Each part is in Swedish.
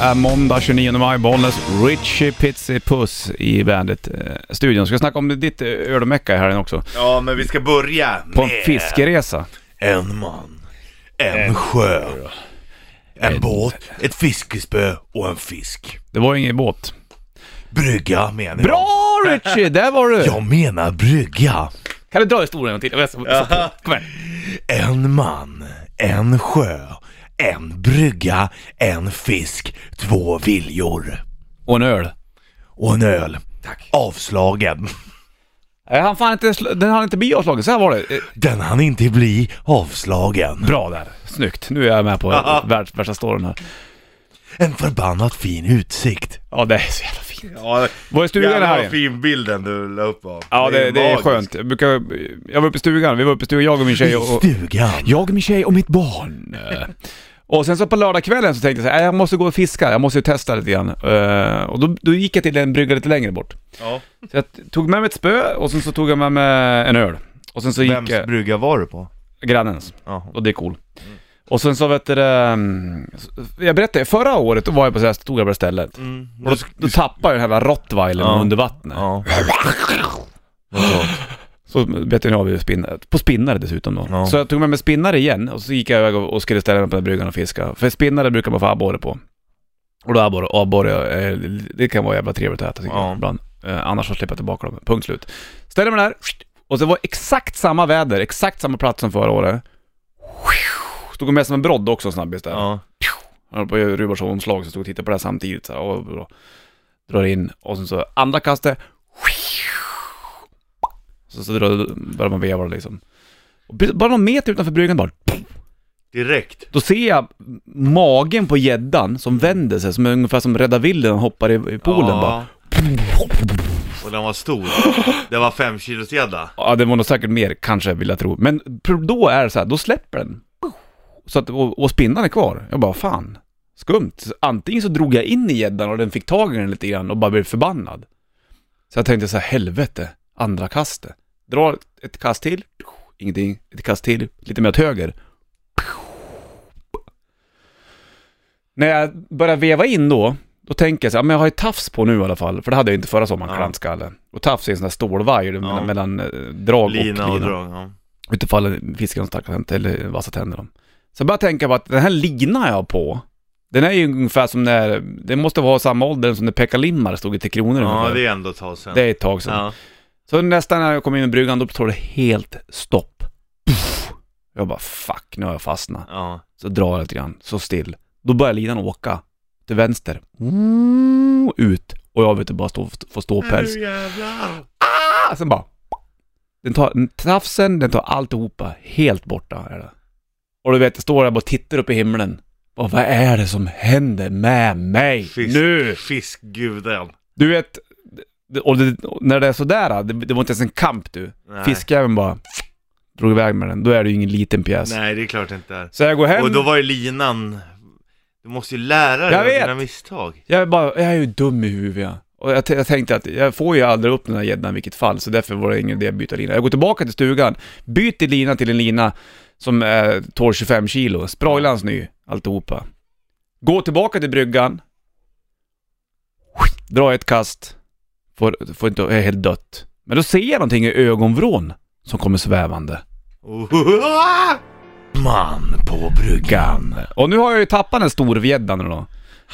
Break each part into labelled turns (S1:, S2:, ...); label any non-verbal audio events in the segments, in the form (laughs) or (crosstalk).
S1: är måndag 29 maj, Bollnäs. Richie Pizzi Puss i Bandit-studion. Ska snacka om ditt eh, öronmecka i helgen också.
S2: Ja, men vi ska börja
S1: På en
S2: med
S1: fiskeresa.
S2: en man, en sjö, en båt, ett fiskespö och en fisk.
S1: Det var ju ingen båt.
S2: Brygga menar jag.
S1: Bra Richie, där var (laughs) du!
S2: Jag menar brygga.
S1: Kan du dra historien en till? Jag ska- Kom här.
S2: En man, en sjö, en brygga, en fisk, två viljor
S1: Och en öl.
S2: och en öl. Avslagen.
S1: Nej, Han fan inte, sl- den hann inte bli avslagen, så här var det. Eh,
S2: Den hann inte bli avslagen.
S1: Bra där, snyggt. Nu är jag med på världs, värsta storyn här.
S2: En förbannat fin utsikt.
S1: Ja, det är så jävla fint.
S3: Ja,
S1: Var i stugan
S3: jävlar
S1: här
S3: vad
S1: igen.
S3: fin bilden du la upp av.
S1: Ja, det, det är
S3: magiskt.
S1: skönt. Jag, brukar, jag var uppe i stugan, vi var uppe i stugan, jag och min tjej och...
S2: I stugan.
S1: Jag, min tjej och mitt barn. Eh, Och sen så på lördagskvällen så tänkte jag så här, "Äh, jag måste gå och fiska, jag måste ju testa lite grann. Eh, Och då, då gick jag till en brygga lite längre bort.
S3: Ja.
S1: Så jag t- tog med mig ett spö och sen så tog jag med mig en öl. Och sen så gick
S3: Vems
S1: jag,
S3: brygga var du på?
S1: grannens.
S3: Ja.
S1: Och det är cool.
S3: Mm.
S1: Och sen så vet du det, mm, s- jag berättade, förra året då var jag på det här stora stället. Och då, då tappade jag den här jävla rottweilern
S3: Mm. Ja.
S1: under vattnet.
S3: Ja. (gasps)
S1: Så bet jag av i spinnare, på spinnare dessutom då.
S3: Ja.
S1: Så jag tog med mig spinnare igen och så gick jag iväg och- och skulle ställa mig på den här bryggan och fiska. För spinnare brukar man få abborre på. Och då abborre, abborre, eh, det kan vara jävla trevligt att äta tycker
S3: Ja.
S1: jag ibland. Eh, annars så slipper jag tillbaka dem. Punkt slut. Ställer mig där, och så var det exakt samma väder, exakt samma plats som förra året. Stod med som en brodd också snabbis där.
S3: Ja.
S1: Han höll på att Rubars omslag så stod och tittade på det här samtidigt så här, åh, bra. Drar in och sen så andra kastet. Så, så drar, börjar man veva liksom. Och precis- bara någon meter utanför bryggan bara.
S3: Direkt.
S1: Då ser jag magen på gäddan som vänder sig, som är ungefär som Rädda Vilden hoppar i, i poolen
S3: ja.
S1: bara.
S3: Och den var stor. Det var fem kilos gädda.
S1: Ja, det var nog säkert mer, kanske vill jag tro. Men pro- då är det så här, då släpper den. Så att, och, och spinnan är kvar. Jag bara, fan. Skumt. Så Antingen så drog jag in i gäddan och den fick tag i den lite grann och bara blev förbannad. Så jag tänkte så här, helvete, andra kastet. Drar ett kast till, ingenting, ett kast till, lite mer åt höger. När jag börjar veva in då, då tänker jag så här, men jag har ju tafs på nu i alla fall, för det hade jag inte förra sommaren,
S3: Ja.
S1: klantskalle. Och tafs är en sån där stålvajer mellan, mellan eh, drag och
S3: Lina och
S1: lina.
S3: drag. Ja.
S1: Utifall fiskarna stackars händer, eller vassa tänder dem. Så jag började tänka på att den här linan jag har på, den är ju ungefär som när, den måste vara samma ålder som när Pekka Limmar stod i Tre Kronor
S3: ja,
S1: ungefär.
S3: det är ändå ett tag sedan.
S1: Det är ett tag sedan.
S3: ja.
S1: Så nästan när jag kom in i bryggan, då står det helt stopp. Puff. Jag bara fuck, nu har jag fastnat.
S3: Ja.
S1: Så drar jag lite grann, så still. Då börjar linan åka, till vänster. Mm, Ut. Och jag vet inte, bara stå, få ståpäls.
S3: Nu jävlar.
S1: Ah, sen bara... Den tar tafsen, den tar alltihopa, helt borta är det. Och du vet, jag står där och bara tittar upp i himlen. Och vad är det som händer med mig
S3: Fisk,
S1: nu?
S3: Fiskguden.
S1: Du vet, och det, och när det är sådär, det, det var inte ens en kamp du.
S3: Nej.
S1: Fiskjäveln bara drog iväg med den, då är det ju ingen liten pjäs.
S3: Nej, det är klart det inte är.
S1: Så jag går hem,
S3: Och då var ju linan... Du måste ju lära dig
S1: Jag
S3: av
S1: vet.
S3: dina misstag.
S1: jag, är bara, jag är ju dum i huvudet. ja. Och jag, t- jag tänkte att jag får ju aldrig upp den här gäddan i vilket fall, så därför var det ingen idé att byta lina. Jag går tillbaka till stugan, byter lina till en lina som eh, tål 25 kilo, spraglans ny, alltihopa. Går tillbaka till bryggan, drar ett kast, får, får inte, är helt dött. Men då ser jag någonting i ögonvrån som kommer svävande.
S3: Oh. (laughs)
S2: Man på bryggan.
S1: Och nu har jag ju tappat den storvgäddan nu då.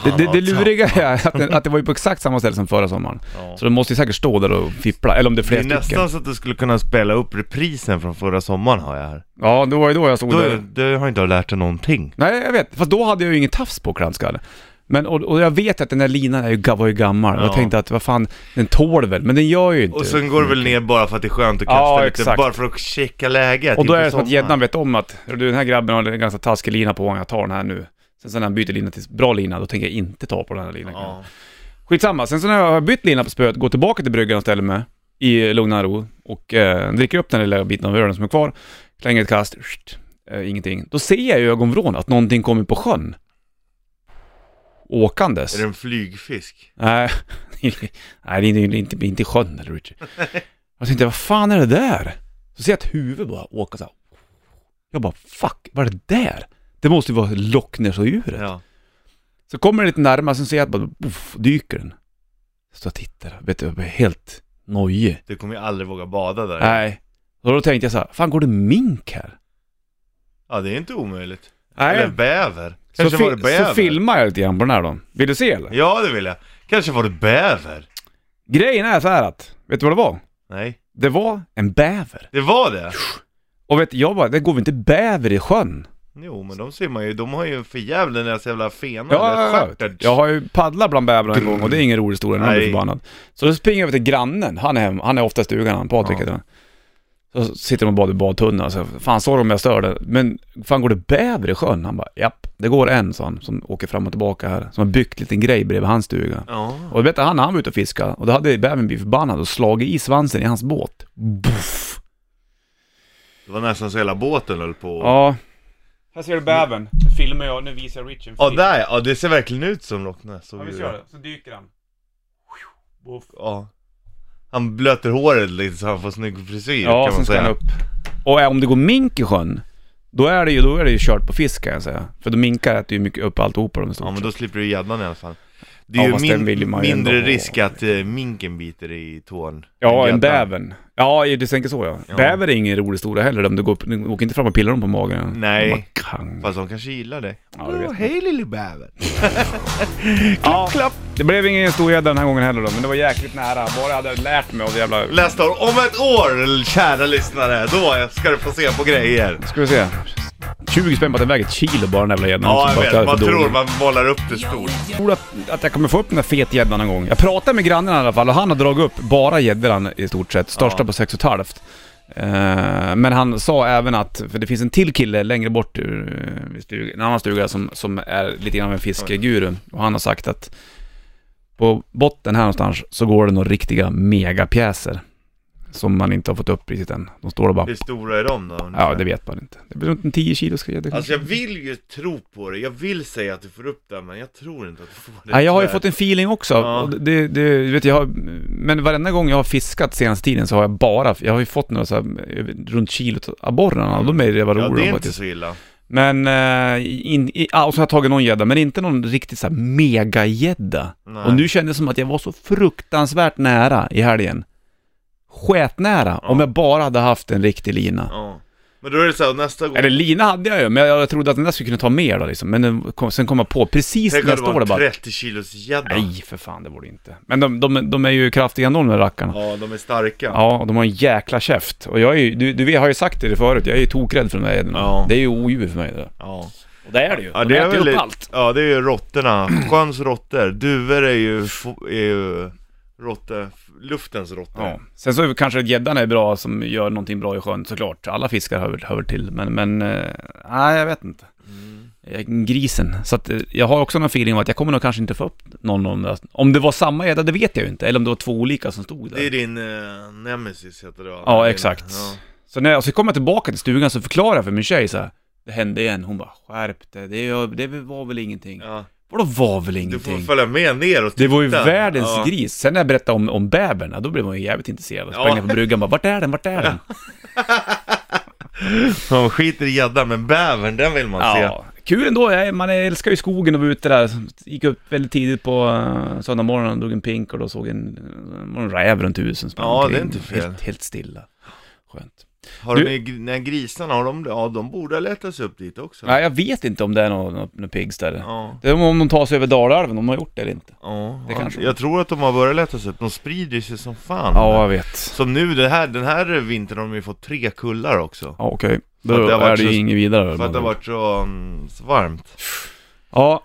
S1: Det,
S2: Han
S1: det,
S2: har
S1: det luriga är att, den, att det var ju på exakt samma ställe som förra sommaren.
S3: Ja.
S1: Så den måste ju säkert stå där och fippla, eller om det är
S3: Det
S1: flera
S3: är
S1: stycken.
S3: nästan så att du skulle kunna spela upp reprisen från förra sommaren har jag här.
S1: Ja, det var ju då jag stod
S3: Du,
S1: där.
S3: du har inte lärt dig någonting.
S1: Nej, jag vet. Fast då hade jag ju ingen tafs på klantskalle. Men, och, och jag vet att den där linan är ju, ga- var ju gammal. Och
S3: Ja.
S1: jag tänkte att, vad fan, den tål väl, men den gör ju inte.
S3: Och sen går du väl ner bara för att det är skönt att kasta
S1: Ja,
S3: lite,
S1: exakt.
S3: bara för att checka läget
S1: Och då
S3: inför
S1: är det som att
S3: sommaren.
S1: gäddan vet om att, du den här grabben har en ganska taskig lina på honom, jag tar den här nu. Sen så när han byter lina till bra lina, då tänker jag inte ta på den här linan.
S3: Ja.
S1: Skitsamma, sen så när jag har bytt lina på spöet, går tillbaka till bryggan och ställer mig i lugn och ro och eh, dricker upp den lilla biten av ölen som är kvar, slänger ett kast, sht, eh, ingenting. Då ser jag i ögonvrån att någonting kommer på sjön. Åkandes.
S3: Är det en flygfisk?
S1: Nej, (laughs) nej det är inte, inte, inte i sjön eller Richie. Jag tänkte, vad fan är det där? Så ser jag ett huvud bara åka så här. Jag bara, fuck, vad är det där? Det måste ju vara Loch Ness-odjuret.
S3: Ja.
S1: Så kommer den lite närmare, sen ser jag att bara, uff, dyker den. Jag står och tittar, vet du, jag blir helt nojig.
S3: Du kommer ju aldrig våga bada där.
S1: Nej. Och då tänkte jag så här, fan går det mink här?
S3: Ja, det är inte omöjligt.
S1: Nej.
S3: Eller bäver.
S1: Så,
S3: Kanske var det
S1: fi-
S3: bäver.
S1: så filmar jag lite grann på den här då. Vill du se eller?
S3: Ja, det vill jag. Kanske var det bäver.
S1: Grejen är så här att, vet du vad det var?
S3: Nej,
S1: Det var en bäver.
S3: det var det.
S1: Och vet jag bara, det går väl inte bäver i sjön?
S3: Jo, men de simmar ju. De har ju en förjävlig deras jävla fena.
S1: Ja,
S3: eller
S1: ja, ja.
S3: stjärtens.
S1: Jag har ju paddlat bland bävrarna en gång och det är ingen rolig historia när man blir
S3: Nej.
S1: förbannad. Så då springer jag över till grannen, han är, hem, han är ofta i stugan han, Patrik
S3: Ja.
S1: heter han. Så sitter de och badar i badtunnan, så fan sorry om jag stör det. men fan går det bäver i sjön? Han bara, japp, det går en sa han, som åker fram och tillbaka här, som har byggt en liten grej bredvid hans stuga.
S3: Ja.
S1: Och vet du, han, han var ute och fiskade och då hade bävern blivit förbannad och slagit i svansen i hans båt. Buff.
S3: Det var nästan så hela båten höll på. Ja,
S1: Ja. Här ser du bävern. Filmar jag, nu visar Rich en
S3: ja där ja. Det ser verkligen ut som Loch Ness. och djur.
S1: Så dyker han.
S3: Ja. Han blöter håret lite så han får snygg frisyr
S1: Ja,
S3: kan
S1: sen
S3: man
S1: ska
S3: säga.
S1: han upp. Och eh, om det går mink i sjön, då är det ju, då är det ju kört på fisk kan jag säga. För de minkar äter ju mycket upp alltihopa de i stort
S3: Ja men då
S1: sett.
S3: slipper du gäddan i alla fall. Det
S1: Ja,
S3: är
S1: fast
S3: ju
S1: den vill
S3: min,
S1: man ju
S3: mindre
S1: ändå ha.
S3: risk att eh, minken biter i tån.
S1: Ja,
S3: Än
S1: en
S3: gäddan.
S1: bävern. Ja, du tänker så ja.
S3: Ja.
S1: Bäver är ingen rolig historia heller. De du går, upp- du åker inte fram och pillar dem på magen.
S3: Nej.
S1: De bara, kang.
S3: Fast de kanske gillar det.
S1: Ja, det vet man.
S3: hej lille bäver.
S1: (laughs) Ja,
S3: Klapp.
S1: det blev ingen stor gädda den här gången heller då, men det var jäkligt nära. Bara jag hade lärt mig av det jävla...
S3: Nästa år, om ett år kära lyssnare, då ska du få se på grejer.
S1: Ska vi se. 20 spänn på att den väger ett kilo bara den jävla gäddan.
S3: Ja,
S1: också,
S3: jag
S1: bara för
S3: vet.
S1: att
S3: Man
S1: jag är för dålig.
S3: tror man målar upp det stort.
S1: Jag tror att, att jag kommer få upp den där fetgäddan någon gång. Jag pratade med grannen i alla fall och han har dragit upp bara gäddor han i stort sett. Största
S3: Ja.
S1: på 6,5. Uh, men han sa även att, för det finns en till kille längre bort ur eh, i stuga, en annan stuga som, som är lite grann av en fiskeguru. Och han har sagt att på botten här någonstans så går det några riktiga megapjäser. Som man inte har fått upp riktigt än. De står och bara...
S3: Hur stora är de då? ungefär?
S1: Ja, det vet man inte. Det blir runt en 10 kilos gädda
S3: Alltså jag vill ju tro på det, jag vill säga att du får upp det, men jag tror inte att du får det.
S1: Ja, jag har ju
S3: tyvärr.
S1: fått en feeling också.
S3: Ja.
S1: Och Det, det, du vet, jag har, men varenda gång jag har fiskat senaste tiden så har jag bara, jag har ju fått några så här, eh, runt kilot abborrarna och de är det
S3: Mm. Ja, det
S1: roliga
S3: är inte
S1: faktiskt.
S3: så illa.
S1: Men, eh, in, i, ja, och så har jag tagit någon gädda, men inte någon riktigt så här megagädda.
S3: Nej.
S1: Och nu kändes det som att jag var så fruktansvärt nära i helgen. Sketnära,
S3: Ja.
S1: om jag bara hade haft en riktig lina.
S3: Ja. Men då är det så här, nästa gång...
S1: Eller lina hade jag ju, men jag, jag trodde att den där skulle kunna ta mer då liksom. Men den kom, sen kom jag på precis
S3: Tänk
S1: när
S3: om
S1: jag
S3: det
S1: står där
S3: var en
S1: bara...
S3: 30 kilos gädda.
S1: Nej, för fan, det borde inte. Men de, de, de är ju kraftiga ändå, de där rackarna.
S3: Ja, de är starka.
S1: Ja, och de har en jäkla käft. Och jag är ju, du, du vet, har ju sagt det förut, jag är ju tokrädd för de där gäddorna.
S3: Ja.
S1: Det är ju odjur för mig det där.
S3: Ja,
S1: Och det är det ju.
S3: ja
S1: de
S3: det är
S1: äter ju
S3: väl
S1: upp
S3: lite,
S1: allt.
S3: Ja, det är
S1: (clears throat)
S3: ju råttorna. Sjöns råttor. Duvor är ju, fo- är ju råtte, luftens råttor.
S1: Ja. Sen så är väl kanske gäddan är bra som gör någonting bra i sjön såklart. Alla fiskar hör, väl- hör väl till, men, men eh, nej jag vet inte. Jag- Grisen. Så att eh, jag har också någon feeling om att jag kommer nog kanske inte få upp någon av de där. Om det var samma gädda, det vet jag ju inte. Eller om det var två olika som stod där.
S3: Det är din eh, nemesis heter det va?
S1: Ja,
S3: Din-
S1: exakt.
S3: Ja.
S1: Så när jag så kommer jag tillbaka till stugan så förklarar jag för min tjej så här, Det hände igen. Hon bara, skärp dig. Det, gör- det var väl ingenting.
S3: Ja.
S1: Vadå var väl
S3: Du får
S1: ingenting?
S3: följa med ner och titta.
S1: Det var ju världens
S3: ja.
S1: gris. Sen när jag berättade om, om bävern, ja, då blev hon ju jävligt intresserad. Och
S3: Ja.
S1: sprang ner på bryggan och bara, vart är den, vart är den?
S3: Man skiter i gäddan, men bävern den vill man se.
S1: Ja, kul ändå. Jag- Man älskar ju skogen och var ute där. Gick upp väldigt tidigt på uh, söndag morgon drog en pink och då såg en, uh, en räv runt husen. sprang
S3: Ja, det är
S1: omkring.
S3: inte fel.
S1: Helt, helt stilla. Skönt.
S3: Har
S1: Du-
S3: du... de, när grisarna, har de, ja de borde ha letat sig upp dit också.
S1: Nej, jag vet inte om det är någon, någon, någon pigs där.
S3: Ja.
S1: Det är om de tar sig över Dalälven, om de har gjort det eller inte.
S3: Ja,
S1: Det
S3: ja.
S1: kanske-
S3: jag tror att de har börjat leta sig upp, de sprider sig som fan.
S1: Ja, jag vet.
S3: Som nu, det här, den här vintern har de ju fått tre kullar också.
S1: Ja, okej.
S3: För att
S1: Då
S3: det har
S1: är
S3: varit
S1: det ju
S3: så-
S1: inget vidare.
S3: För att det har varit så, mm, så varmt.
S1: Ja,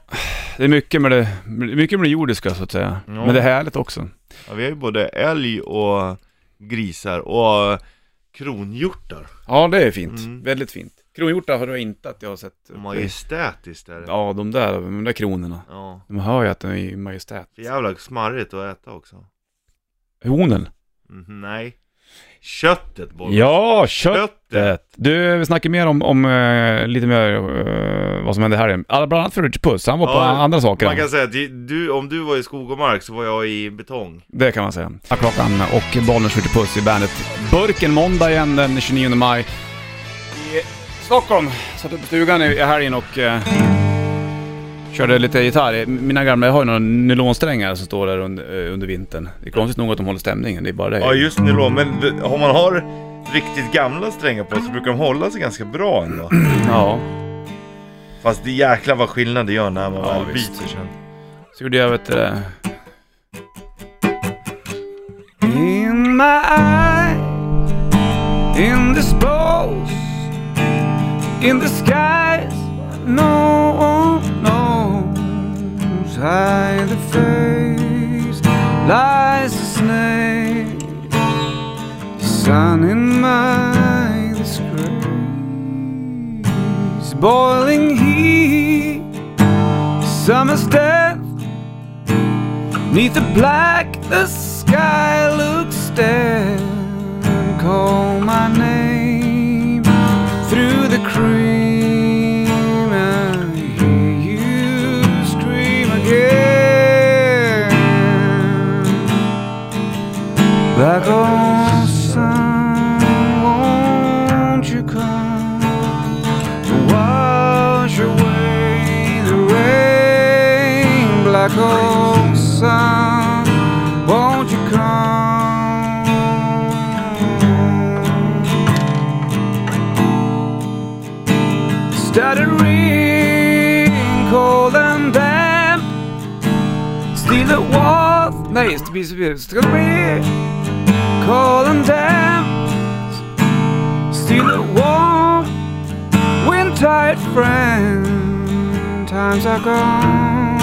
S1: det är mycket med det, mycket med det jordiska så att säga.
S3: Ja.
S1: Men det är härligt också.
S3: Ja, vi har ju både älg och grisar och kronhjortar.
S1: Ja, det är fint.
S3: Mm.
S1: Väldigt fint. Kronhjortar har jag inte att jag har sett.
S3: Majestätiskt är det.
S1: Ja, de där, de där kronorna.
S3: Ja.
S1: De hör ju att den är majestät.
S3: För jävla smarrigt att äta också.
S1: Honen?
S3: Mhm, nej. Köttet bara.
S1: Ja, köttet!
S3: Köttet!
S1: Du, vi snackar mer om, om eh, lite mer eh, vad som hände här. Alla- Bland annat för Richard Puss, han var på
S3: Ja,
S1: andra saker.
S3: Man kan säga att du, om du var i skog och mark så var jag i betong.
S1: Det kan man säga. Här Klockan och bollen skjuter puss i bandet. Burken måndag igen den 29 maj. I Stockholm. Satt uppe på stugan i i helgen och eh, Körde lite gitarr. Mina gamla, jag har ju några nylonsträngar som står där under, eh, under vintern. Det är konstigt nog att de håller stämningen, det är bara det.
S3: Ja just nylon, men d- om man har riktigt gamla strängar på så brukar de hålla sig ganska bra ändå.
S1: ja.
S3: Fast det är jäklar vad skillnad det gör när man
S1: Ja,
S3: väl
S1: visst.
S3: byter sen.
S1: Så gjorde jag vet det. In my eye In this pose In the skies No one knows Hide the face Lies a snake Sun in my disgrace Boiling heat Summer's death. Neath the black, the sky looks dead. Call my name through the cream. I hear you scream again. Black old sun, won't you come? wash away the rain. Black old sun, won't you come? Stuttering, cold and damp. Steal the wall. Nej, just det, just det. Stuttering, cold and damp. Steal the wall. Wind-tight friend Times are gone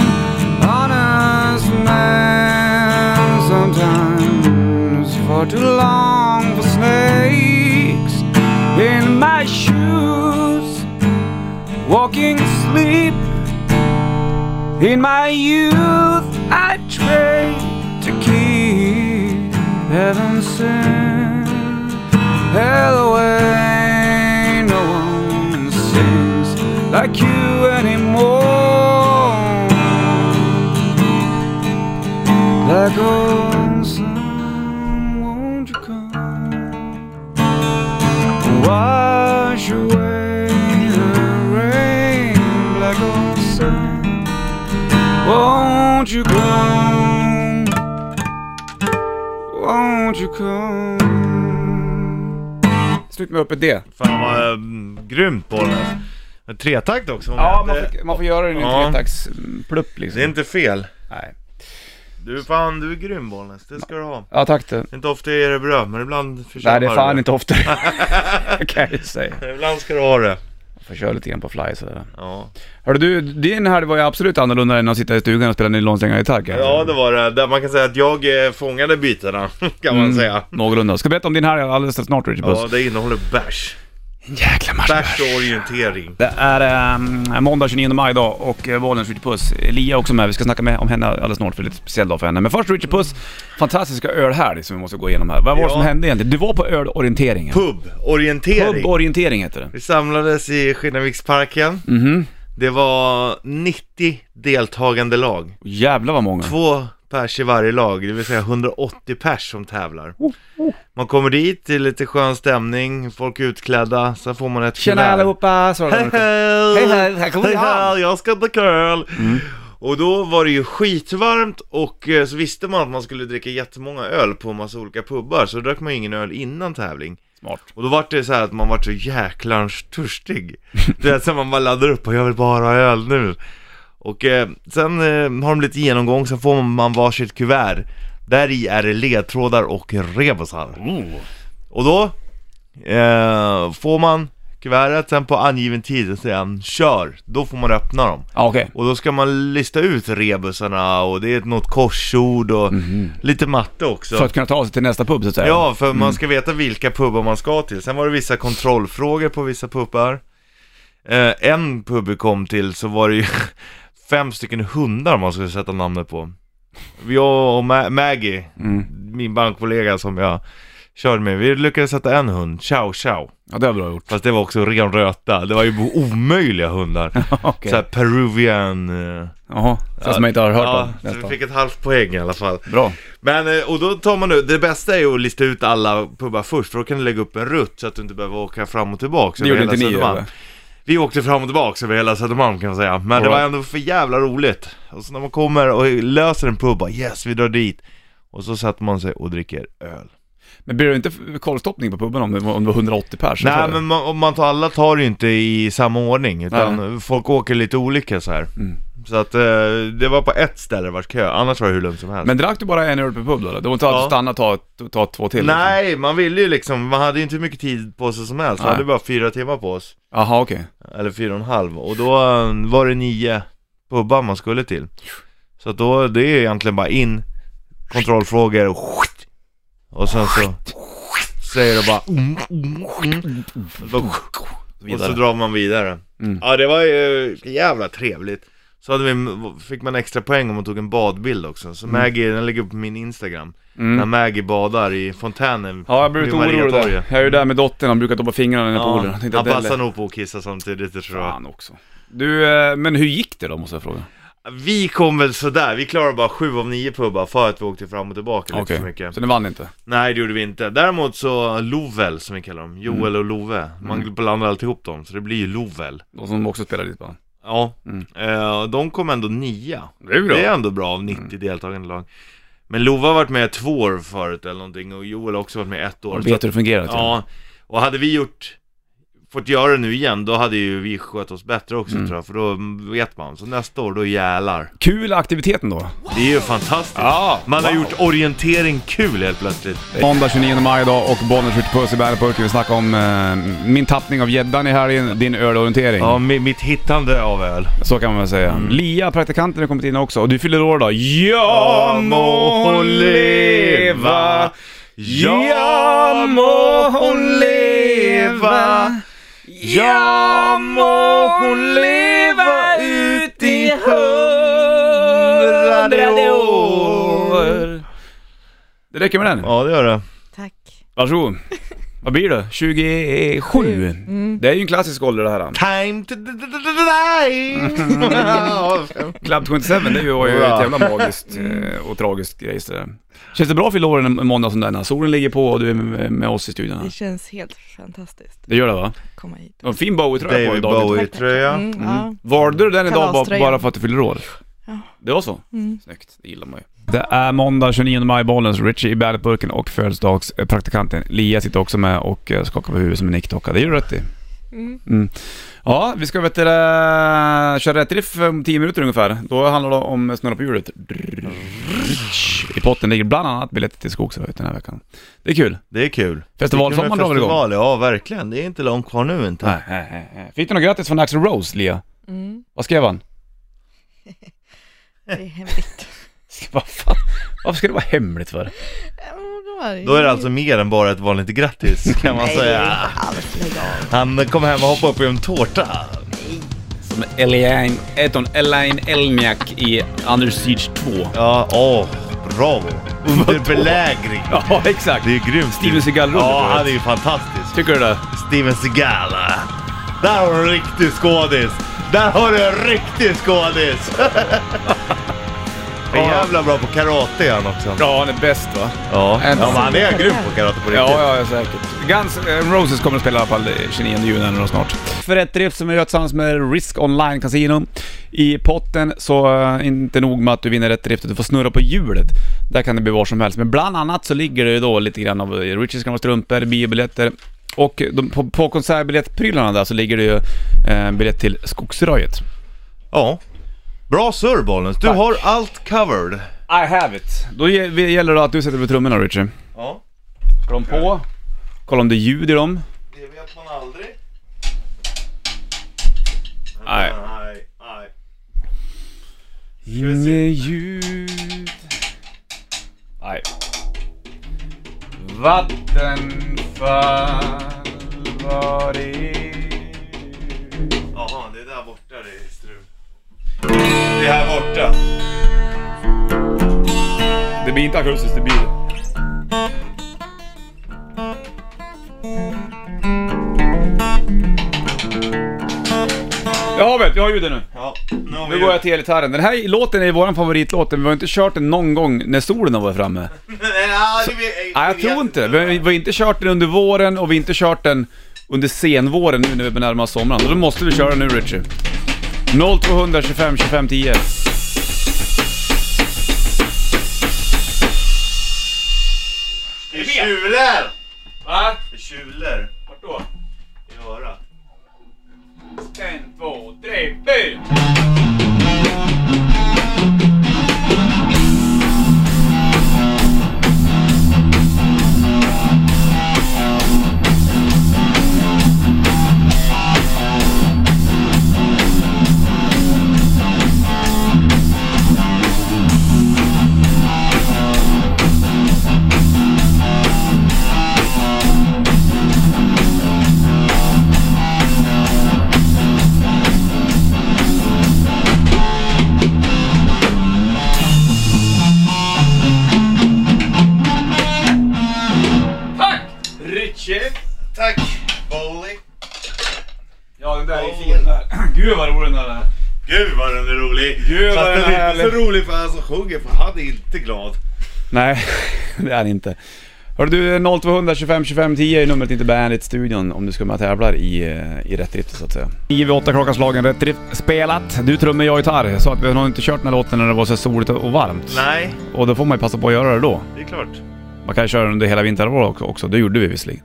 S1: Honest man Sometimes For too long For snakes In my shoes Walking sleep In my youth I trade To keep Heaven sent Hell away, no one sings like you anymore. Black old sun, won't you come? Wash away the rain, black old sun, won't you come? Won't you come? Slut med uppe D.
S3: Fan vad um, grymt på den här. En Tretakt också. om
S1: Ja,
S3: jag
S1: man
S3: inte-
S1: får, man får göra den i
S3: Ja.
S1: en tretaktsplupp liksom.
S3: Det är inte fel.
S1: Nej.
S3: Du fan, du är grym Bollnäs. Det ska du ha.
S1: Ja, tack du.
S3: Inte ofta är det bra, men ibland förtjänar
S1: Nej, det är fan
S3: det.
S1: inte
S3: (laughs)
S1: ofta. Det kan jag ju säga.
S3: Ibland ska du ha det.
S1: Jag får köra lite grann på fly sådär.
S3: Ja,
S1: Hörru du, din här var ju absolut annorlunda än att sitta i stugan och spela nylonsträngar i tagg.
S3: ja det var det. Där man kan säga att jag eh, fångade bitarna, (laughs) kan
S1: Mm.
S3: man säga.
S1: Någorlunda. Ska berätta om din här alldeles snart Richard Puss.
S3: Ja, det innehåller bärs.
S1: En jäkla match.
S3: Bärs och orientering.
S1: Det är um, måndag 29 maj idag och eh, Bollnäs Richard Puss. Lia är också med. Vi ska snacka med om henne alldeles snart för det är lite speciell dag för henne. Men först Richard Puss, fantastiska ölhelg som vi måste gå igenom här. Vad var det som
S3: Ja.
S1: hände egentligen? Du var på ölorienteringen.
S3: Pub, orientering.
S1: Puborientering heter det.
S3: Vi samlades i Skinnarviksparken.
S1: Mhm.
S3: Det var 90 deltagande
S1: Mm.
S3: lag.
S1: Jävlar vad många.
S3: Två pers i varje lag, det vill säga 180 pers som tävlar. Man kommer dit, det är lite skön stämning, folk är utklädda, sen får man ett
S1: Tjena
S3: kuvert.
S1: allihopa! Så
S3: Hej hej!
S1: Hej, hej, här kommer jag. Mm.
S3: hej, jag ska ta curl! Och då var det ju skitvarmt och eh, så visste man att man skulle dricka jättemånga öl på en massa olika pubbar så då drack man ju ingen öl innan tävling.
S1: Smart.
S3: Och då var det så här att man var så jäklans törstig. (laughs) Du vet, så man bara laddar upp och jag vill bara ha öl nu. Och eh, sen eh, har de lite genomgång, sen får man varsitt kuvert. Där i är det ledtrådar och rebusar. Och då eh, får man kuvertet, sen på angiven tid säger han kör, då får man öppna dem.
S1: Ja, okej.
S3: Och då ska man lista ut rebusarna och det är något korsord och lite matte också.
S1: För att kunna ta sig till nästa pub så att säga.
S3: Ja, för
S1: Mm.
S3: man ska veta vilka pubbar man ska till. Sen var det vissa kontrollfrågor på vissa pubbar. Eh, en pub vi kom till så var det ju (laughs) fem stycken hundar man skulle sätta namnet på. Jag och Ma- Maggie,
S1: Mm.
S3: min bankkollega som jag körde med, vi lyckades sätta en hund, Chow Chow.
S1: ja det har bra
S3: (laughs)
S1: gjort.
S3: Fast det var också ren röta, det var ju omöjliga hundar.
S1: (laughs) Okej.
S3: Såhär Peruvian... eh,
S1: Jaha, så som jag inte har hört
S3: ja,
S1: om.
S3: så vi
S1: Nästa.
S3: fick ett halvt poäng i alla fall.
S1: Bra.
S3: Men, eh, och då tar man nu, det bästa är ju att lista ut alla pubbar först, för då kan du lägga upp en rutt så att du inte behöver åka fram och tillbaka.
S1: Det
S3: över
S1: gjorde
S3: hela
S1: inte ni,
S3: Södermalm.
S1: eller?
S3: Vi åkte fram och tillbaka över hela Södermalm kan man säga. Men det
S1: All
S3: var
S1: right.
S3: ändå för jävla roligt. Och så när man kommer och löser en pub, bara yes vi drar dit. Och så sätter man sig och dricker öl.
S1: Men blir det inte f- kolstoppning på puben om det var, om det var 180 pers?
S3: Nej men man, om man tar, alla tar ju inte i samma ordning utan folk åker lite olika så här.
S1: Mm.
S3: Så att eh, det var på ett ställe det var kö, annars var det hur lugnt som helst.
S1: Men drack du bara en öl per pub då? eller? Det var inte att
S3: Ja.
S1: stanna och ta, ta två till? liksom?
S3: Nej, man ville ju liksom, man hade ju inte hur mycket tid på sig som helst. Man
S1: Nej.
S3: hade bara fyra timmar på oss.
S1: Jaha, okej.
S3: Eller fyra och en halv. Och då eh, var det nio pubbar man skulle till. Så att då, det är egentligen bara in, kontrollfrågor och skit. Och sen så säger det bara mm, mm, mm. Och då- Och så
S1: Vidare.
S3: drar man vidare.
S1: Mm.
S3: Ja det var ju jävla trevligt. Så hade vi, fick man extra poäng om man tog en badbild också. Så Maggie, den ligger på min Instagram. När
S1: Mm.
S3: Maggie badar i fontänen
S1: Ja, jag blev lite
S3: vid
S1: orolig där.
S3: Mariatorget.
S1: Jag är ju där med dottern, han brukar doppa fingrarna ner i
S3: Ja,
S1: poolen. Jag tänkte
S3: han
S1: att det är
S3: passar nog på att kissa samtidigt tror jag.
S1: Fan också. Du, eh, men hur gick det då måste jag fråga?
S3: Vi kom väl sådär, vi klarade bara sju av nio pubbar för att vi åkte fram och tillbaka lite för mycket
S1: så ni vann inte?
S3: Nej det gjorde vi inte, däremot så Lovel som vi kallar dem,
S1: Mm.
S3: Joel och Love Man blandar alltid ihop dem, så det blir ju Lovel
S1: De som också spelade ditt band?
S3: Ja,
S1: Mm.
S3: Eh, de kom ändå nia
S1: Det är ju bra. Mm.
S3: Det är ändå bra av 90 deltagande lag Men Love har varit med två år förut eller någonting och Joel har också varit med ett år
S1: Och
S3: så
S1: vet hur det fungerar? tror jag.
S3: Ja, och hade vi gjort Fått göra det nu igen, då hade ju vi skött oss bättre också tror jag, för då vet man. Så nästa år, då jävlar.
S1: Kul aktiviteten då.
S3: Det är ju fantastiskt.
S1: Ja,
S3: man har
S1: wow.
S3: gjort orientering kul helt plötsligt.
S1: Måndag 29 maj idag och Bollnäs skjuter puss i bandet på Vi snackar om eh, min tappning av gäddan i helgen, din ölorientering.
S3: Ja, mi- mitt hittande av öl.
S1: Så kan man väl säga. Lia, praktikanten, har kommit in också. Och du fyller år idag. Ja må hon leva! Ja må hon leva! Ja må hon leva ut i hundrade år! Det räcker med den.
S3: Ja, det gör det.
S4: Tack.
S1: Varsågod. Vad blir det? 27? Det är ju en klassisk ålder det här.
S3: Time to (laughs) d- d- d- die! Ja,
S1: Club 27, det var ju
S3: Bra.
S1: ett jävla magiskt eh, och tragiskt grej. så där. Känns det bra att fylla år en måndag som denna? Solen ligger på och du är med med oss i studion
S4: Det
S1: här.
S4: känns helt fantastiskt
S1: Det gör det va?
S4: att komma hit.
S1: Du har en fin Bowie-tröja på dig
S3: David
S1: David.
S3: Bowie-tröja.
S4: Mm, ja.
S1: Valde du den idag bara,
S4: Kalaströjan.
S1: bara för att du fyller år?
S4: Ja.
S1: Det var så?
S4: Mm.
S1: Snyggt, det gillar man ju. Det är måndag 29 maj, Bollens Richie i Bandet-burken och födelsedagspraktikanten Lia sitter också med och eh, skakar på huvudet som en nickdocka. Det gör du rätt i.
S4: Mm.
S1: Mm. Ja, vi ska vet du, det, köra rätt riff om 10 minuter ungefär. Då handlar det om Snurra på hjulet. I potten ligger bland annat biljetter till Skogsröjt den här veckan. Det är kul.
S3: Det är kul.
S1: Festivalsommaren
S3: Vilken
S1: drar väl igång?
S3: festival, Ja, verkligen. Det är inte långt kvar nu inte.
S1: Nej, nej, nej, nej. Fick du något grattis från Axel Rose, Lia?
S4: Mm.
S1: Vad skrev han?
S4: Det är hemligt.
S1: Vad fan? Varför ska det vara hemligt för?
S4: Ja, men då är det, alltså,
S3: Då är det alltså mer än bara ett
S1: (laughs)
S3: vanligt grattis, kan man
S4: Nej, det är
S3: säga.
S4: allt. Lägg av.
S3: Han kom hem och hoppade upp i en tårta.
S1: Som Elaine, heter hon Elaine Elmiak i Under Siege 2.
S3: Ja, åh, bravo. Under belägring.
S1: Ja, exakt.
S3: Det är ju grymt.
S1: Steven Seagal-roll,
S3: Ja,
S1: tror jag.
S3: han är ju fantastisk.
S1: Tycker du det?
S3: Steven Seagal. Där har du en riktig skådis. Där har du en riktig skådis.
S1: (laughs)
S3: Han är jävla bra på karate är han också.
S1: Ja, han är bäst va?
S3: Ja, ja
S1: En-
S3: men han är grym på karate på riktigt.
S1: Ja, ja, säkert. Guns N' Roses kommer att spela i alla fall 29 juni eller något snart. För ett drift som vi gör tillsammans med Risk Online Casino. I potten så eh, inte nog med att du vinner rätt drift, du får snurra på hjulet. Där kan det bli vad som helst, men bland annat så ligger det ju då lite grann av eh, Richies gamla strumpor, biobiljetter. Och de, på, på konsertbiljettprylarna där så ligger det ju eh, biljett till Skogsröjet.
S3: Ja. Bra surr Bollnäs. Du
S1: Tack.
S3: har allt covered.
S1: I have it! Då ge- vi- gäller det att du sätter på trummorna Richie.
S3: Ja,
S1: Ska de på? Kolla om det är ljud i dem.
S3: det vet man aldrig.
S1: Nej.
S3: Nej, nej.
S1: Inget ljud. Nej. Vattenfall var det
S3: Jaha, det är där borta det är strul. Det är här borta.
S1: Det blir inte akustiskt, det blir... Jag har väl, jag har ljudet nu.
S3: Ja, nu har vi
S1: Nu går jag till elgitarren. Den här låten är vår favoritlåt, men vi har inte kört den någon gång när solen har varit framme.
S3: (laughs) Nej, ja, det vet-
S1: Nej, jag
S3: vet
S1: tror inte det. Vi har vi har inte kört den under våren och vi har inte kört den under senvåren nu när vi närmar oss sommaren. Och då måste vi köra nu Richie. 0200 25 25 10.
S3: Det tjular!
S1: Va?
S3: Det tjular
S1: Vart då?
S3: i örat.
S1: En, två, tre, fyra! Tack! Richie!
S3: Tack, Bowley.
S1: Ja, den där är fin där. Gud vad rolig den där är.
S3: Gud vad den är rolig!
S1: Gud, vad
S3: Fast
S1: den är
S3: är inte så
S1: härlig.
S3: rolig för han som sjunger, för han är inte glad.
S1: Nej, (laughs) det är det inte. Hörru du, 0200 25 25 10 är numret inte Bandit-studion om du ska med och tävlar i, eh, i Rätt Riff så att säga. 9 vid 8 klockan slagen, Rätt Riff spelat. Du trummor, jag gitarr. Jag sa att vi har inte kört den här låten när det var så soligt och varmt.
S3: Nej,
S1: Och då får man ju passa på att göra det då.
S3: det är klart.
S1: Man kan ju köra den under hela vinterhalvåret också, också. Det gjorde vi visserligen.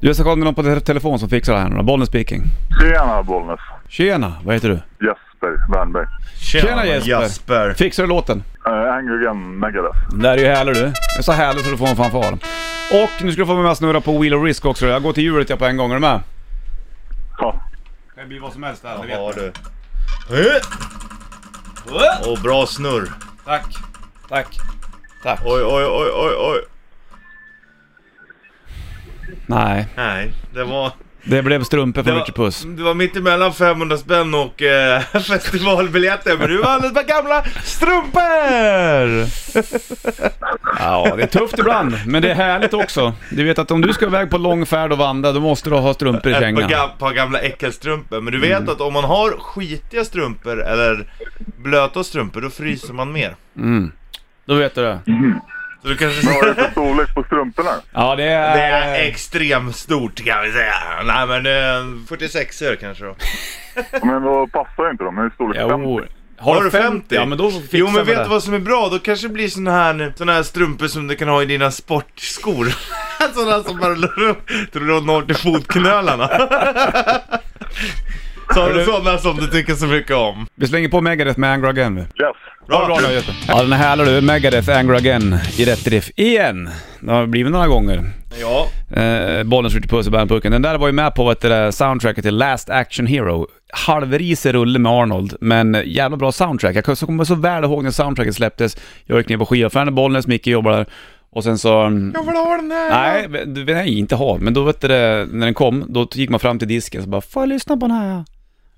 S1: Du, jag ska kolla med någon på te- telefon som fixar det här nu då. Bollnäs speaking.
S5: Tjena Bollnäs.
S1: Tjena, vad heter du?
S5: Jesper Wernberg.
S1: Tjena, Jesper.
S3: Jasper.
S1: Fixar du låten?
S5: Uh, Angry Gun Megadeth.
S1: Den där är ju härlig du. Den är så härlig så du får en fanfar. Och nu ska du få med mig att snurra på Wheel of Risk också. Jag går till hjulet jag på en gång, är du med?
S5: Ja.
S1: Det blir vad som helst där,
S3: Ja du. Eh, Och bra snurr.
S1: Tack. Tack. Tack.
S3: Oj, oj, oj, oj, oj.
S1: Nej,
S3: Nej, det var...
S1: det blev strumpor för
S3: Det
S1: Richie Puss.
S3: var, det var mitt emellan 500 spänn och eh, (laughs) festivalbiljetter, men du vann ett par gamla strumpor!
S1: Ja, det är tufft ibland, men det är härligt också. Du vet att om du ska iväg på lång färd och vandra, då måste du ha strumpor i
S3: Ett par,
S1: kängan.
S3: gam, par gamla äckelstrumpor, men du vet att om man har skitiga strumpor eller blöta strumpor, då fryser man mer.
S1: Mm. Då vet du det.
S3: Så du kanske...
S5: Vad
S3: (laughs)
S5: är det för storlek på strumporna?
S1: Ja, det är...
S3: Det är extremt stort kan vi säga. Nej men eh, 46 er kanske då.
S5: Men då passar inte de. Det är storlek 50.
S1: Jo. Har du 50? Ja, men då fixar
S3: Jo men
S1: vi
S3: vet
S1: det.
S3: du vad som är bra? Då kanske det blir såna här, såna här strumpor som du kan ha i dina sportskor. (laughs) såna som bara rullar upp, tror du når till (laughs) fotknölarna. Så, sådana som du tycker så mycket om.
S1: Vi slänger på Megadeth med Angry Again nu.
S5: Yes.
S1: Bra, bra nu Ja, den är härlig du. Megadeth, Angry Again i rätt riff igen. Det har blivit några gånger.
S3: Ja,
S1: Eh, bollen skjuter puss i bandpucken. Den där var ju med på vet du, det, soundtracket till Last Action Hero. Halvrisig rulle med Arnold, men jävla bra soundtrack. Jag kommer så väl ihåg när soundtracket släpptes. Jag gick ner på skivaffären i Bollnäs, Micke jobbade där. Och sen så...
S3: jag vill ha den här!
S1: Nej, men du- nej, inte ha. Men då vet du det, när den kom, då gick man fram till disken och så bara Får jag lyssna på den här?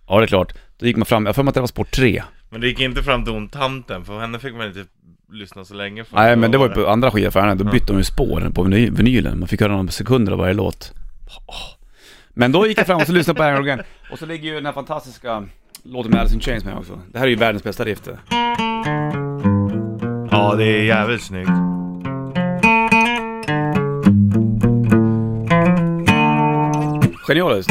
S1: Ja, det är klart. Då gick man fram, jag har för mig att det var spår 3.
S3: Men det gick inte fram till hon tanten, för henne fick man inte lyssna så länge för.
S1: Nej, men det var ju på andra skivaffären. Då bytte de ju spår på veny- vinylen. Man fick höra några sekunder av varje låt. Åh. Men då gick jag fram och så lyssnade på Iron Organ. Och så ligger ju den här fantastiska låten med Alice in Chains med också. Det här är ju världens bästa riff det.
S3: Ja, det är jävligt snyggt.
S1: Genialiskt.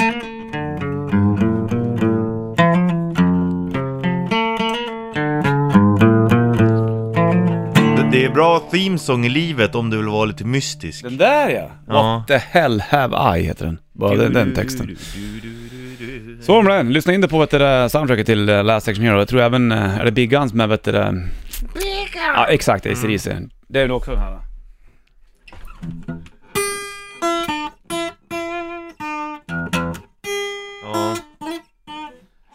S3: Det- Det är bra themesång i livet om du vill vara lite mystisk.
S1: Den där ja! What the hell have I heter den. Bara den, den texten. Så om den. Lyssna in det på vet du, det, soundtracket till eh, Last Action Hero. Jag tror även, eh, är det Big Guns med vet du, det... Ja exakt, AC/DC. Det är nog också den här. va?
S3: Ja.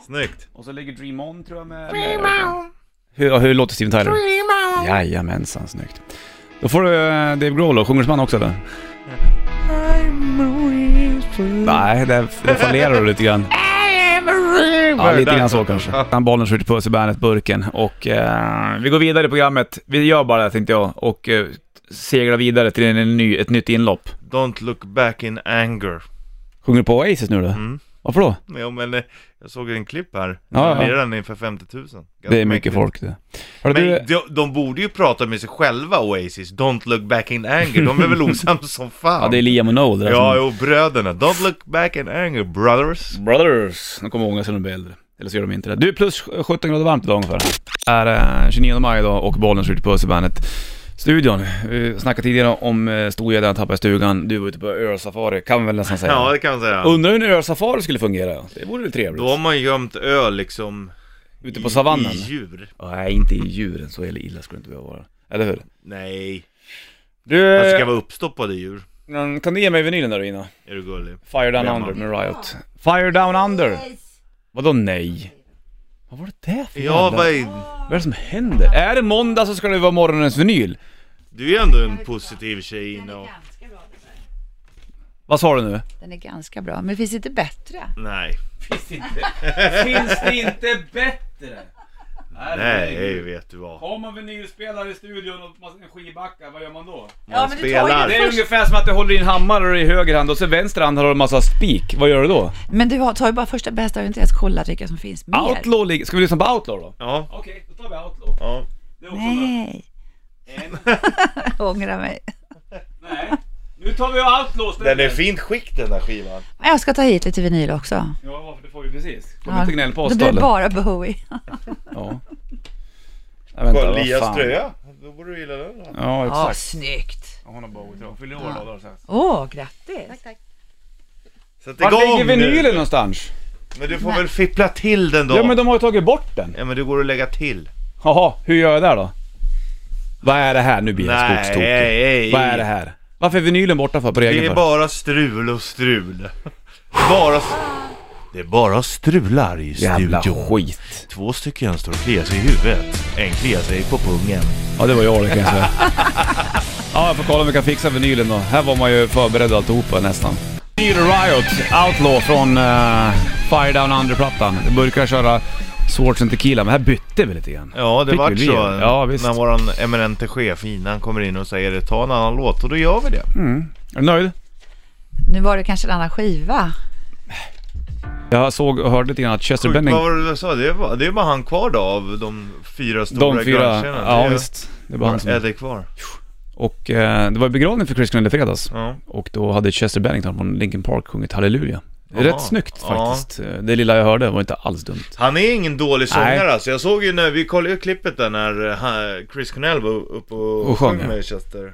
S3: Snyggt.
S1: Och så ligger Dream On tror jag med... Dream On! Hur, hur låter Steven Tyler? Dream On! Jajamensan, snyggt. Då får du eh, Dave Grohl då, sjunger som han också eller? Nej, där, där fallerar du lite grann. Ja, lite grann så kanske. Han bollen skjuter puss i bandet burken och eh, vi går vidare i programmet. Vi gör bara det här, tänkte jag och eh, seglar vidare till en ny, ett nytt inlopp.
S3: Don't look back in anger.
S1: Sjunger du på Oasis nu då?
S3: Mm.
S1: Varför då?
S3: Ja, men eh, jag såg en klipp här.
S1: Ja, ja.
S3: Ja, ja. Den är för 50 000. Ganska
S1: Det är mycket
S3: mäktigt.
S1: folk det. Hörru,
S3: Men
S1: du,
S3: de, de borde ju prata med sig själva Oasis, Don't look back in anger, de är
S1: (laughs)
S3: väl osams som fan?
S1: ja, det är Liam och Noel det där
S3: Ja,
S1: som-
S3: jo, bröderna. Don't look back in anger, brothers.
S1: Brothers. De kommer ångra sig när de blir äldre. Eller så gör de inte det. Du, plus 17 grader varmt idag ungefär. Det är eh, 29 maj idag och bollen skjuter puss i bandet. Studion. Vi snackade tidigare om eh, storgäddan tappade i stugan. Du var ute på ölsafari, kan man väl nästan säga.
S3: Ja, det kan man säga.
S1: Undrar hur en ölsafari skulle fungera. Det vore väl trevligt.
S3: Då har man gömt öl liksom
S1: Ute
S3: i-
S1: på savannen.
S3: I djur.
S1: Nej, inte i djuren. Så jävla illa skulle det inte behöva vara. Eller hur?
S3: Nej,
S1: Du,
S3: det ska vara uppstoppade djur.
S1: eh, kan du ge mig vinylen där inne?
S3: Är du gullig?
S1: Fire Down
S3: Vem
S1: Under
S3: har-
S1: med Riot. Fire Down Under! Vadå nej? Vad var det där för
S3: Ja,
S1: jävla-
S3: vad
S1: Vad är det som händer? Är det måndag så ska det vara morgonens vinyl.
S3: du är ändå en positiv tjej inne och...
S6: Ganska bra.
S1: Vad sa du nu?
S6: Den är ganska bra, men finns inte bättre?
S3: Nej,
S1: Finns det inte bättre?
S3: nej, vet du vad.
S1: Har man vinylspelare i studion och en skivbacka, vad gör man då?
S6: Ja,
S3: men
S6: men
S3: du tar ju spelar. den
S6: Du
S1: Det
S6: tar
S1: är
S6: ju
S1: ungefär som att du håller i en hammare i höger hand och så vänster hand har du en massa spik. Vad gör du då?
S6: bara första bästa och inte ens kollat vilka som finns mer.
S1: Outlaw ligger... Ska vi lyssna på Outlaw då?
S3: Ja,
S1: Okej, då tar vi Outlaw.
S3: ja.
S1: Det är
S6: Nej,
S1: en...
S6: jag (laughs) ångrar mig.
S1: Nej. Nu tar vi Outlaw
S3: Den är fint skick den där skivan.
S6: Men jag ska ta hit lite vinyl också.
S1: Ja, varför? Det får vi precis. Kom
S6: Ja.
S1: inte gnäll på
S6: Då
S1: oss
S6: blir det
S1: eller?
S6: bara Bowie.
S1: Ja. Nej, vänta, vad
S3: Lias
S1: fan.
S3: tröja, då borde du gilla den. då.
S1: Ja,
S6: Ja,
S1: exakt.
S6: snyggt.
S1: Hon har Bowie-tröja. Hon fyller år då, har sagt.
S6: Åh, grattis.
S4: Tack, tack.
S3: Sätt igång
S1: Var ligger
S3: nu.
S1: vinylen någonstans?
S3: Men du får väl fippla till den då?
S1: Ja men de har ju tagit bort den.
S3: Ja men det går att lägga till.
S1: Jaha, hur gör jag där då? Vad är det här? Nu blir jag skogstokig.
S3: nej.
S1: Vad är det här? Varför är vinylen borta för på regeln
S3: Det är
S1: för?
S3: bara strul och strul. Bara... s- Det är bara strular i
S1: Jävla
S3: studion.
S1: skit.
S3: Två stycken står och kliar sig i huvudet. En kliar sig på pungen.
S1: Ja det var jag det kan jag säga. Ja jag får kolla om vi kan fixa vinylen då. Här var man ju förberedd och alltihopa nästan. Need Riot, Outlaw från eh, Fire Down Under-plattan. Det brukar köra Swords and Tequila, men här bytte vi lite grann.
S3: Ja, det
S1: Fick
S3: vart
S1: vi
S3: så.
S1: det? Ja, visst.
S3: När våran eminente chef innan kommer in och säger ta en annan låt och då gör vi det.
S1: Är du nöjd?
S6: Nu var det kanske en annan skiva.
S1: Jag såg och hörde lite grann att Chester
S3: Sjukt,
S1: Benning...
S3: Vad var det du sa? Det är, bara, det är bara han kvar då av de fyra stora
S1: De fyra...
S3: grunge-tjejerna.
S1: Ja
S3: det är,
S1: visst. Det var han som...
S3: Eddie kvar.
S1: Och eh, det var ju begravning för Chris Cornell i fredags.
S3: Ja.
S1: Och då hade Chester Bennington från Linkin Park sjungit Halleluja. Det är
S3: Jaha.
S1: rätt snyggt
S3: Ja.
S1: faktiskt. Det lilla jag hörde var inte alls dumt.
S3: Han är ingen dålig
S1: Nej.
S3: sångare alltså. Jag såg ju när, vi kollade ju klippet där när eh, han- Chris Cornell var uppe och,
S1: Och sjöng, ja.
S3: med Chester.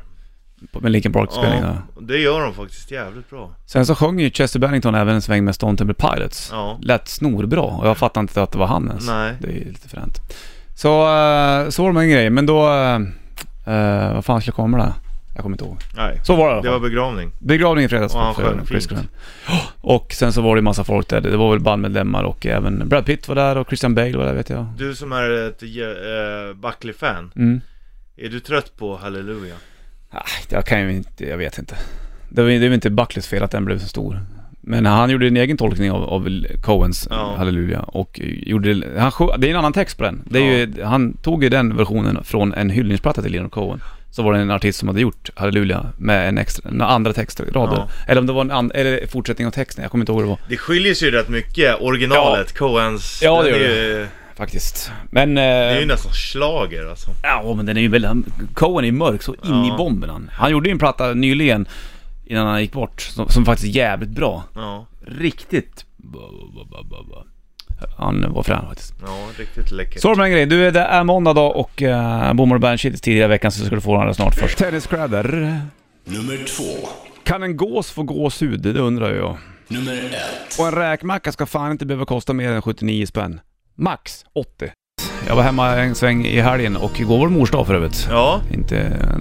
S1: På- Med Linkin Park-spelningarna.
S3: Ja, och det gör de faktiskt jävligt bra.
S1: Sen så sjöng ju Chester Bennington även en sväng med Stone Temple Pilots.
S3: Ja.
S1: Lät snorbra och jag fattade inte att det var han ens.
S3: Nej.
S1: Det är ju lite fränt. Så, eh, så var det en grej. Men då... eh, eh, vad fan skulle jag komma där? Jag kommer inte ihåg.
S3: Nej.
S1: Så var det i alla
S3: Det
S1: fall.
S3: var begravning.
S1: Begravning i fredags
S3: Och han
S1: för
S3: sjöng
S1: Chris
S3: fint.
S1: Cornell. Och sen så var det ju massa folk där. Det var väl bandmedlemmar och även Brad Pitt var där och Christian Bale var där vet jag.
S3: Du som är ett äh, Buckley-fan,
S1: Mm.
S3: är du trött på Halleluja?
S1: Nej, jag kan ju inte, jag vet inte. Det var det är väl inte Buckleys fel att den blev så stor. Men han gjorde en egen tolkning av, av Coens
S3: Ja.
S1: Halleluja och gjorde, han sjö, det är en annan text på den. Det är ju, han tog ju den versionen från en hyllningsplatta till Leonard Cohen. Så var det en artist som hade gjort Halleluja med en extra, en andra textrader.
S3: Ja.
S1: Eller om det var en an, eller fortsättning av texten, jag kommer inte ihåg hur det var.
S3: Det skiljer sig ju rätt mycket, originalet, Coens.
S1: Ja, det
S3: den
S1: gör
S3: är ju,
S1: Faktiskt. Men... eh,
S3: det är ju nästan schlager alltså.
S1: Ja, men den är ju väldigt... han- Cohen är ju mörk så in
S3: Ja.
S1: i bomben han. Han gjorde ju en platta nyligen innan han gick bort som, som faktiskt är jävligt bra.
S3: Ja,
S1: Riktigt... ba- ba- ba- ba- ba. Han var frän faktiskt.
S3: ja riktigt läckert.
S1: Så var det med en grej. Du, det är måndag dag och uh, Bommar och Bandsheets tidigare i veckan så ska du få den alldeles snart först. Tenniskläder.
S7: Nummer två.
S1: Kan en gås få gåshud? Det undrar jag.
S7: Nummer ett.
S1: Och en räkmacka ska fan inte behöva kosta mer än 79 spänn. Max 80. Jag var hemma en sväng i helgen och igår var det mors dag för övrigt.
S3: Ja,
S1: Inte eh,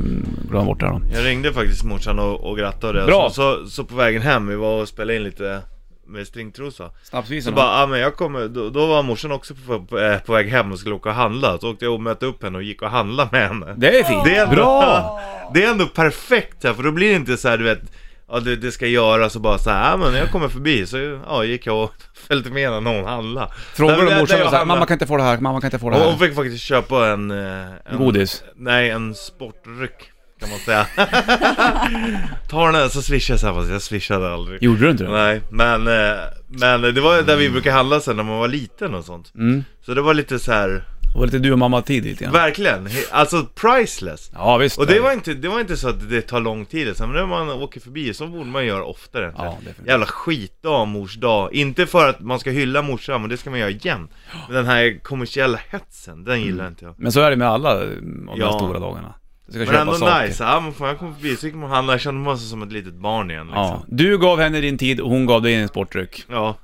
S1: glömma bort det här då.
S3: jag ringde faktiskt morsan och, och grattade.
S1: Bra.
S3: Så, så, så på vägen hem, vi var och spelade in lite med stringtrosa. Så
S1: Snapsvisan
S3: bara, ah, men jag kommer, då, då var morsan också på, på, eh, på väg hem och skulle åka och handla. Så åkte jag och mötte upp henne och gick och handlade med henne.
S1: Det är fint!
S3: Det är ändå, (laughs)
S1: Bra!
S3: det är ändå perfekt här, för då blir det inte så här, du vet, ja det, det ska göras och bara så här, ah, men jag kommer förbi, så ja, gick jag och (laughs) följde med henne när hon handlade.
S1: Frågar
S3: Där- där-
S1: du morsan
S3: där jag
S1: och säger
S3: hamnade-
S1: mamma kan inte få det här, mamma kan inte få det
S3: Hon- Hon
S1: här.
S3: fick faktiskt köpa en... eh, en
S1: Godis.
S3: Nej, en sportdryck. kan man säga. (laughs) Ta den här så swishar jag så här, fast jag swishade aldrig.
S1: Gjorde du inte det?
S3: Nej, men, eh, men det var där vi brukade handla sen när man var liten och sånt.
S1: Mm.
S3: Så det var lite så här,
S1: Det var lite du och mamma-tid lite grann.
S3: verkligen, he- alltså priceless.
S1: Ja, visst.
S3: Och det var, inte, det var inte så att det tar lång tid, utan när man åker förbi så borde man göra oftare.
S1: Ja, definitivt.
S3: Jävla skitdag, mors dag. Inte för att man ska hylla morsan, men det ska man göra igen. Men den här kommersiella hetsen, den gillar inte jag.
S1: Men så är det med alla mm, av de här
S3: Ja.
S1: stora dagarna. Du ska
S3: Men
S1: köpa
S3: ändå
S1: saker.
S3: nice, liksom. ja men fan jag kom förbi, så gick man och handlade, jag kände mig som ett litet barn igen
S1: Ja.
S3: liksom.
S1: Du gav henne din tid och hon gav dig en sportdryck. (laughs)
S3: Ja.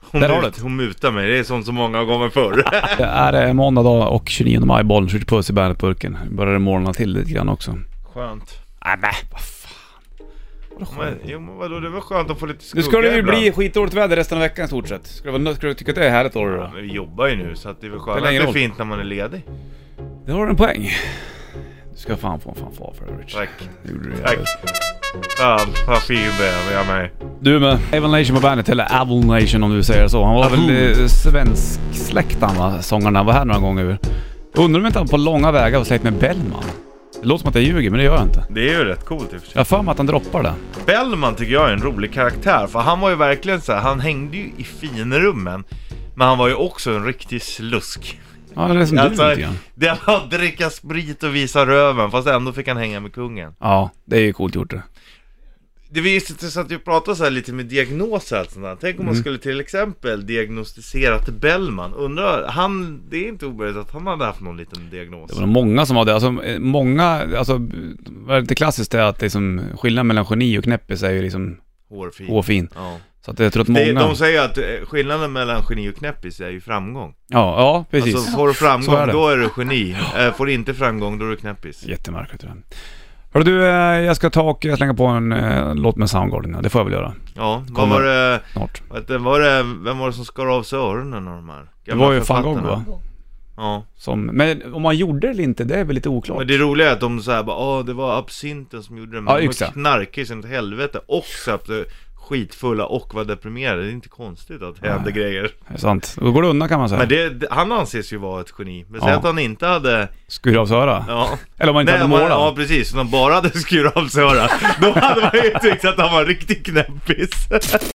S3: Hon,
S1: Där har
S3: mut,
S1: du
S3: hon mutar mig, det är som så många
S1: (laughs)
S3: gånger förr.
S1: Det är eh, måndag dag och 29 maj, bollen skjuter puss i bandetburken. Nu Börjar det morgna till lite grann också.
S3: Skönt.
S1: Nej, men vad fan.
S3: Men, jo men vadå, det var skönt att få lite skugga
S1: Nu ska det ju
S3: ibland.
S1: bli skitdåligt väder resten av veckan i stort sett. Ska, det vara, ska du tycka att det är härligt då?
S3: Ja,
S1: då?
S3: men vi jobbar ju nu så att det är väl skönt
S1: Spelar
S3: att det
S1: ingen
S3: är
S1: roll.
S3: fint när man är ledig.
S1: Det har du en poäng. Du ska fan få en fanfar för det Rich.
S3: Tack.
S1: Det gjorde du
S3: Tack.
S1: jävligt.
S3: Fan vad fin du är, jag med.
S1: Du med. Avon Nation på bandet, eller Avon Nation om du säger så. Han var väl eh, svensk släkt han va, sångaren. Han var här några gånger. ju. Jag undrar om inte han på långa vägar var släkt med Bellman. Det låter som att jag ljuger, men det gör jag inte.
S3: Det är ju rätt coolt i och för sig.
S1: Jag har för mig att han droppar det.
S3: Bellman tycker jag är en rolig karaktär, för han var ju verkligen så här, han hängde ju i finrummen. Men han var ju också en riktig slusk.
S1: Ja, det är som du
S3: Alltså,
S1: lite grann.
S3: det var att dricka sprit och visa röven, fast ändå fick han hänga med kungen.
S1: Ja, det är ju coolt gjort det.
S3: Det var just intressant att vi pratade så här lite med diagnoser och sånt där. Tänk om man skulle till exempel diagnostiserat Bellman. Undrar, han, det är inte omöjligt att han hade haft någon liten diagnos.
S1: Det var många som hade, alltså eh, många, alltså vad är lite klassiskt är att liksom skillnaden mellan geni och knäppis är ju liksom
S3: Hårfin.
S1: hårfin.
S3: Ja.
S1: Så att jag tror att
S3: Det,
S1: många...
S3: de säger att eh, skillnaden mellan geni och knäppis är ju framgång.
S1: Ja, ja precis.
S3: Alltså får du framgång
S1: Så är det.
S3: då är du geni, Eh, får du inte framgång då är du knäppis.
S1: Jättemärkligt det där. Hörru du, eh, jag ska ta och slänga på en eh, låt med Soundgarden. Det får jag väl göra
S3: Ja, vad
S1: Kommer.
S3: var det,
S1: snart.
S3: vad heter- var det, vem var det som skar av sig öronen av de här?
S1: Det var ju van Gogh
S3: författarna?
S1: va?
S3: Ja,
S1: Som, men om man gjorde det eller inte, det är väl lite oklart.
S3: men det roliga är att de såhär bara åh det var absinten som gjorde det,
S1: Ja,
S3: men de
S1: yxa.
S3: var knarkig som ett helvete och satt eh, skitfulla och var deprimerade, det är inte konstigt att det händer grejer.
S1: Det är sant. Då går det undan kan man säga.
S3: Men det, det- han anses ju vara ett geni, men säg
S1: Ja.
S3: att han inte hade,
S1: Skur av sig öra.
S3: ja
S1: Eller om man inte
S3: Nej,
S1: hade
S3: man,
S1: målat.
S3: ja precis, om de bara hade skurit av sig örat, då hade man ju tyckt att han var en riktig knäppis.